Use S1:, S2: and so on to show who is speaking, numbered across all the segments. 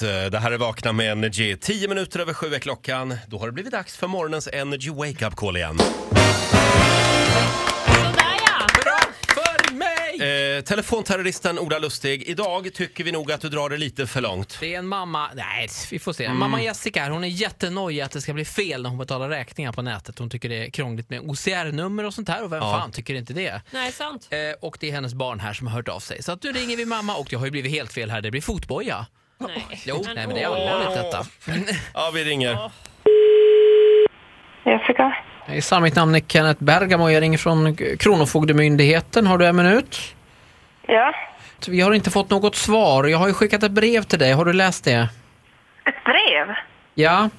S1: Eh, Det här är Vakna med Energy. 10 minuter över sju är klockan. Då har det blivit dags för morgonens Energy Wake Up Call igen.
S2: Sådär ja!
S3: Bra för mig!
S1: Eh, telefonterroristen Ola Lustig, idag tycker vi nog att du drar det lite för långt.
S3: Det är en mamma, nej vi får se. Mamma Jessica här, hon är jättenojig att det ska bli fel när hon betalar räkningar på nätet. Hon tycker det är krångligt med OCR-nummer och sånt här och vem
S1: Ja.
S3: fan tycker inte det?
S2: Nej, sant.
S3: Eh, och det är hennes barn här som har hört av sig. Så att nu ringer vi mamma och det har ju blivit helt fel här, det blir fotboja.
S2: Nej.
S3: Jo, nej men det är allvarligt detta.
S1: Ja, vi ringer.
S4: Jessica?
S3: Hejsan, mitt namn är Kenneth Bergamo. Jag ringer från Kronofogdemyndigheten. Har du en minut?
S4: Ja?
S3: Vi har inte fått något svar. Jag har ju skickat ett brev till dig. Har du läst det?
S4: Ett brev?
S3: Ja.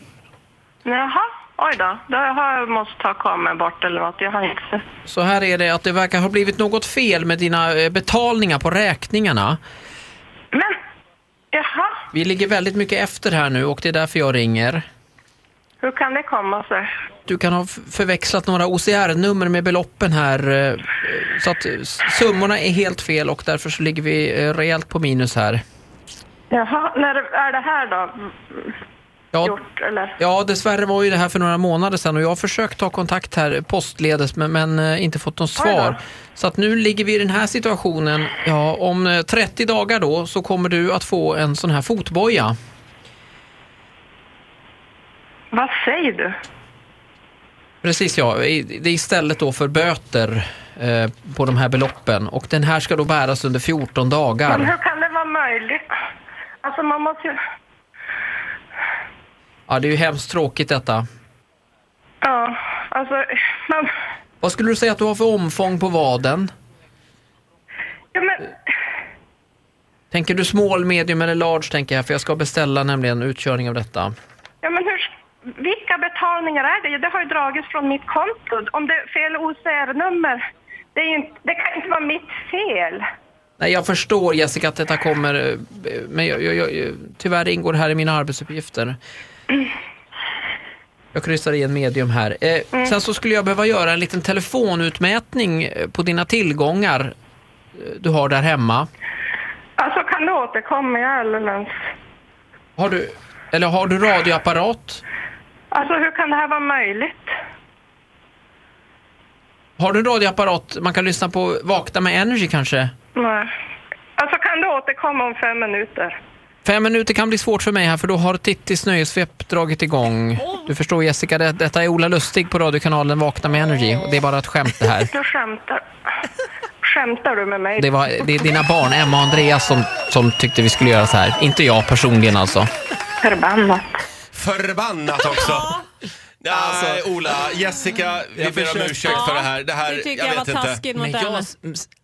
S4: Jaha, oj då. Då har jag måste ta kameran bort eller något. Jag har inte sett.
S3: Så här är det att det verkar ha blivit något fel med dina eh, betalningar på räkningarna.
S4: Men, jaha,
S3: Vi ligger väldigt mycket efter här nu och det är därför jag ringer.
S4: hur kan det komma sig?
S3: Du kan ha f- förväxlat några OCR-nummer med beloppen här. eh, Så att eh, s- summorna är helt fel och därför så ligger vi eh, rejält på minus här.
S4: Jaha, när är det här då
S3: Ja,
S4: gjort eller?
S3: ja, dessvärre var ju det här för några månader sedan och jag har försökt ta kontakt här postledes men, men eh, inte fått något
S4: Oj då.
S3: svar. Så att nu ligger vi i den här situationen. Ja, om eh, 30 dagar då så kommer du att få en sån här fotboja.
S4: Vad säger du?
S3: Precis ja, I- det är istället då för böter eh, på de här beloppen och den här ska då bäras under 14
S4: Men hur
S3: dagar.
S4: kan det vara möjligt? Alltså man måste ju...
S3: Ja, det är ju hemskt tråkigt detta.
S4: Ja, alltså man...
S3: Vad skulle du säga att du har för omfång på vaden?
S4: Ja, men,
S3: Tänker du small, medium eller large tänker jag för jag ska beställa nämligen utkörning av detta.
S4: ja, men hur... Vilka betalningar är det? Det har ju dragits från mitt konto. Om det är fel OCR-nummer, det, är ju inte, det kan inte vara mitt fel.
S3: Nej, jag förstår Jessica att detta kommer, eh, men jag, jag, jag, tyvärr ingår det här i mina arbetsuppgifter. Jag kryssar i en medium här. Eh, Sen så skulle jag behöva göra en liten telefonutmätning eh, på dina tillgångar eh, du har där hemma.
S4: Alltså kan du återkomma i alldeles?
S3: Har du, eller har du radioapparat?
S4: Alltså hur kan det här vara möjligt?
S3: Har du en radioapparat? Man kan lyssna på Vakna med Energy kanske?
S4: Nej. Alltså kan du återkomma om fem minuter?
S3: Fem minuter kan bli svårt för mig här för då har Tittis nöjessvep dragit igång. Du förstår Jessica, det, detta är Ola Lustig på radiokanalen Vakna med Energy och det är bara ett skämt det här.
S4: Du skämtar. Skämtar du med mig?
S3: Det, var, det är dina barn, Emma och Andreas, som, som tyckte vi skulle göra så här. Inte jag personligen alltså.
S4: Förbannat.
S1: Förbannat också! Nej,
S3: Alltså.
S1: Ola, Jessica, vi
S3: Jag
S1: ber om
S3: försökte.
S1: ursäkt för det här. Det här,
S2: det tycker jag,
S1: vet
S2: var
S1: inte.
S2: taskigt mot henne.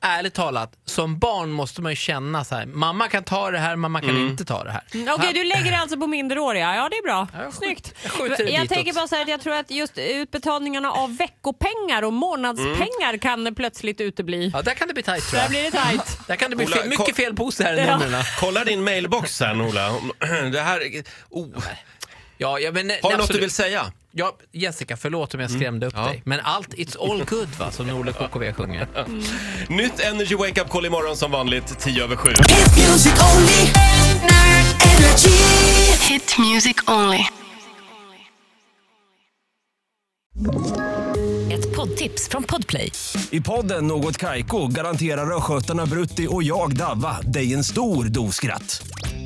S3: ärligt talat, som barn måste man ju känna så här. Mamma kan ta det här, mamma kan inte ta det här.
S2: Okej, du lägger det alltså på minderåriga. Ja, det är bra.
S3: jag skjut-
S2: Snyggt.
S3: jag skjuter det
S2: jag
S3: ditåt.
S2: tänker bara så här att jag tror att just utbetalningarna av veckopengar och månadspengar
S1: Mm.
S2: kan plötsligt utebli.
S3: Ja, där kan det bli tajt tror
S2: Där
S3: jag.
S2: blir det tajt.
S3: Där kan det bli
S1: Ola,
S3: fel,
S1: kom-
S3: mycket fel på så här
S2: Ja.
S3: numren.
S1: Kolla din mailbox sen, Ola. Om- Det här... Oh.
S3: Ja, ja, men,
S1: Har du något du vill säga?
S3: Ja, Jessica, förlåt om jag skrämde upp dig. Men allt, it's all good va, som Norlie KKV sjunger.
S1: Nytt Energy Wake Up Call imorgon som vanligt, 10 över 7.
S5: Hit music only. Energy.
S6: Hit music only.
S7: Ett poddtips från Podplay.
S8: I podden Något Kaiko garanterar östgötarna Brutti och jag, Davva, dig en stor dos skratt.